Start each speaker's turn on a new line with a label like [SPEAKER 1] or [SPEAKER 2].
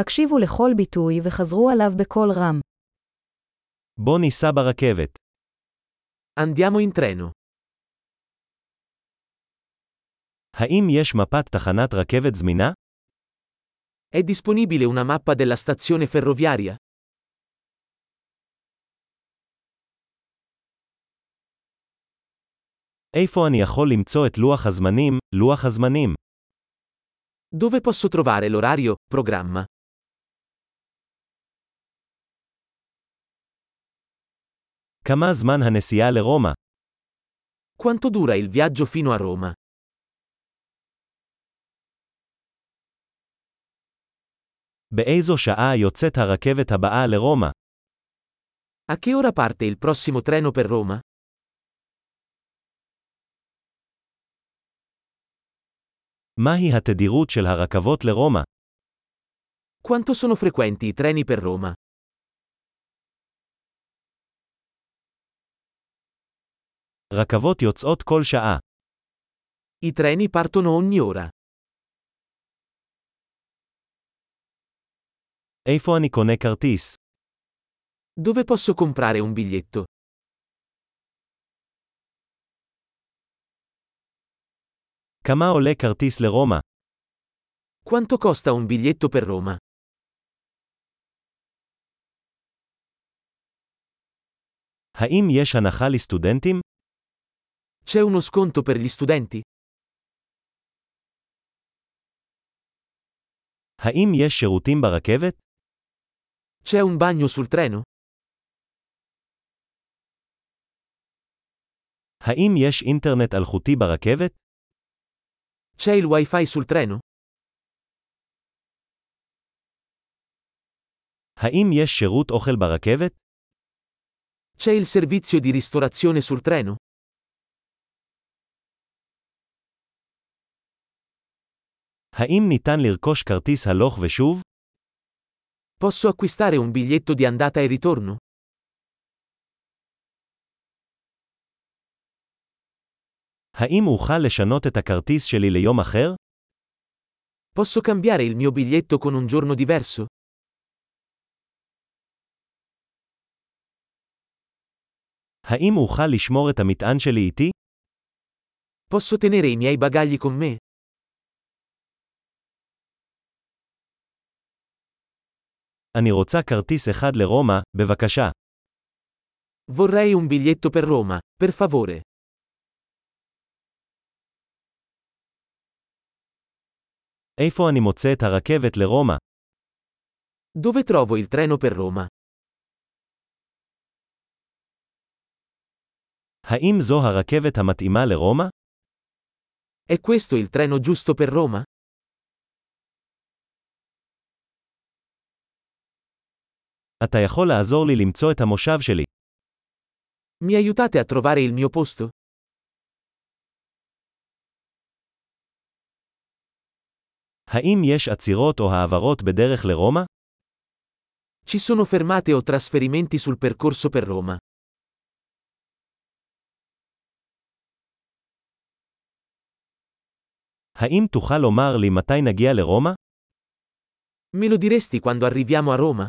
[SPEAKER 1] הקשיבו לכל ביטוי וחזרו עליו בקול רם.
[SPEAKER 2] בוא ניסע ברכבת.
[SPEAKER 3] Andiamo in treno.
[SPEAKER 2] האם יש מפת תחנת רכבת זמינה?
[SPEAKER 3] È disponibile una mappa della stazione ferroviaria?
[SPEAKER 2] איפה אני יכול למצוא את לוח הזמנים, לוח הזמנים?
[SPEAKER 3] Dove posso trovare l'orario, programma?
[SPEAKER 2] כמה זמן הנסיעה לרומא?
[SPEAKER 3] Quanto dura il viaggio fino a Roma?
[SPEAKER 2] באיזו שעה יוצאת הרכבת הבאה לרומא?
[SPEAKER 3] A che ora parte il prossimo treno per Roma?
[SPEAKER 2] מהי התדירות של הרכבות לרומא?
[SPEAKER 3] Quanto sono frequenti i treni per Roma?
[SPEAKER 2] רכבות יוצאות כל שעה.
[SPEAKER 3] I treni partono ogni ora.
[SPEAKER 2] איפה אני קונה כרטיס?
[SPEAKER 3] Dove posso comprare un biglietto?
[SPEAKER 2] כמה עולה כרטיס לרומא?
[SPEAKER 3] Quanto costa un biglietto per Roma?
[SPEAKER 2] האם יש הנחה לסטודנטים?
[SPEAKER 3] C'è uno sconto per gli studenti?
[SPEAKER 2] האם יש שירותים ברכבת?
[SPEAKER 3] C'è un bagno sul treno?
[SPEAKER 2] האם יש אינטרנט אלחוטי ברכבת?
[SPEAKER 3] C'è il wifi sul treno?
[SPEAKER 2] האם יש שירות אוכל ברכבת?
[SPEAKER 3] C'è il servizio di ristorazione sul treno?
[SPEAKER 2] האם ניתן לרכוש כרטיס הלוך ושוב?
[SPEAKER 3] Posso acquistare un biglietto di andata e ritorno?
[SPEAKER 2] האם אוכל לשנות את הכרטיס שלי ליום אחר?
[SPEAKER 3] Posso cambiare il mio biglietto con un giorno diverso?
[SPEAKER 2] האם אוכל לשמור את המטען שלי איתי?
[SPEAKER 3] Posso tenere i miei bagagli con me?
[SPEAKER 2] אני רוצה כרטיס אחד לרומא, בבקשה.
[SPEAKER 3] Vorrei un biglietto per Roma, per favore.
[SPEAKER 2] איפה אני מוצא את הרכבת לרומא?
[SPEAKER 3] Dove trovo il treno per Roma?
[SPEAKER 2] האם זו הרכבת המתאימה לרומא?
[SPEAKER 3] È questo il treno giusto per Roma?
[SPEAKER 2] אתה יכול לעזור לי למצוא את המושב שלי.
[SPEAKER 3] Mi aiutate a trovare il mio posto?
[SPEAKER 2] האם יש עצירות או העברות בדרך לרומא?
[SPEAKER 3] Ci sono fermate o trasferimenti sul percorso per Roma?
[SPEAKER 2] האם תוכל לומר לי מתי נגיע לרומא?
[SPEAKER 3] Me lo diresti quando arriviamo a Roma?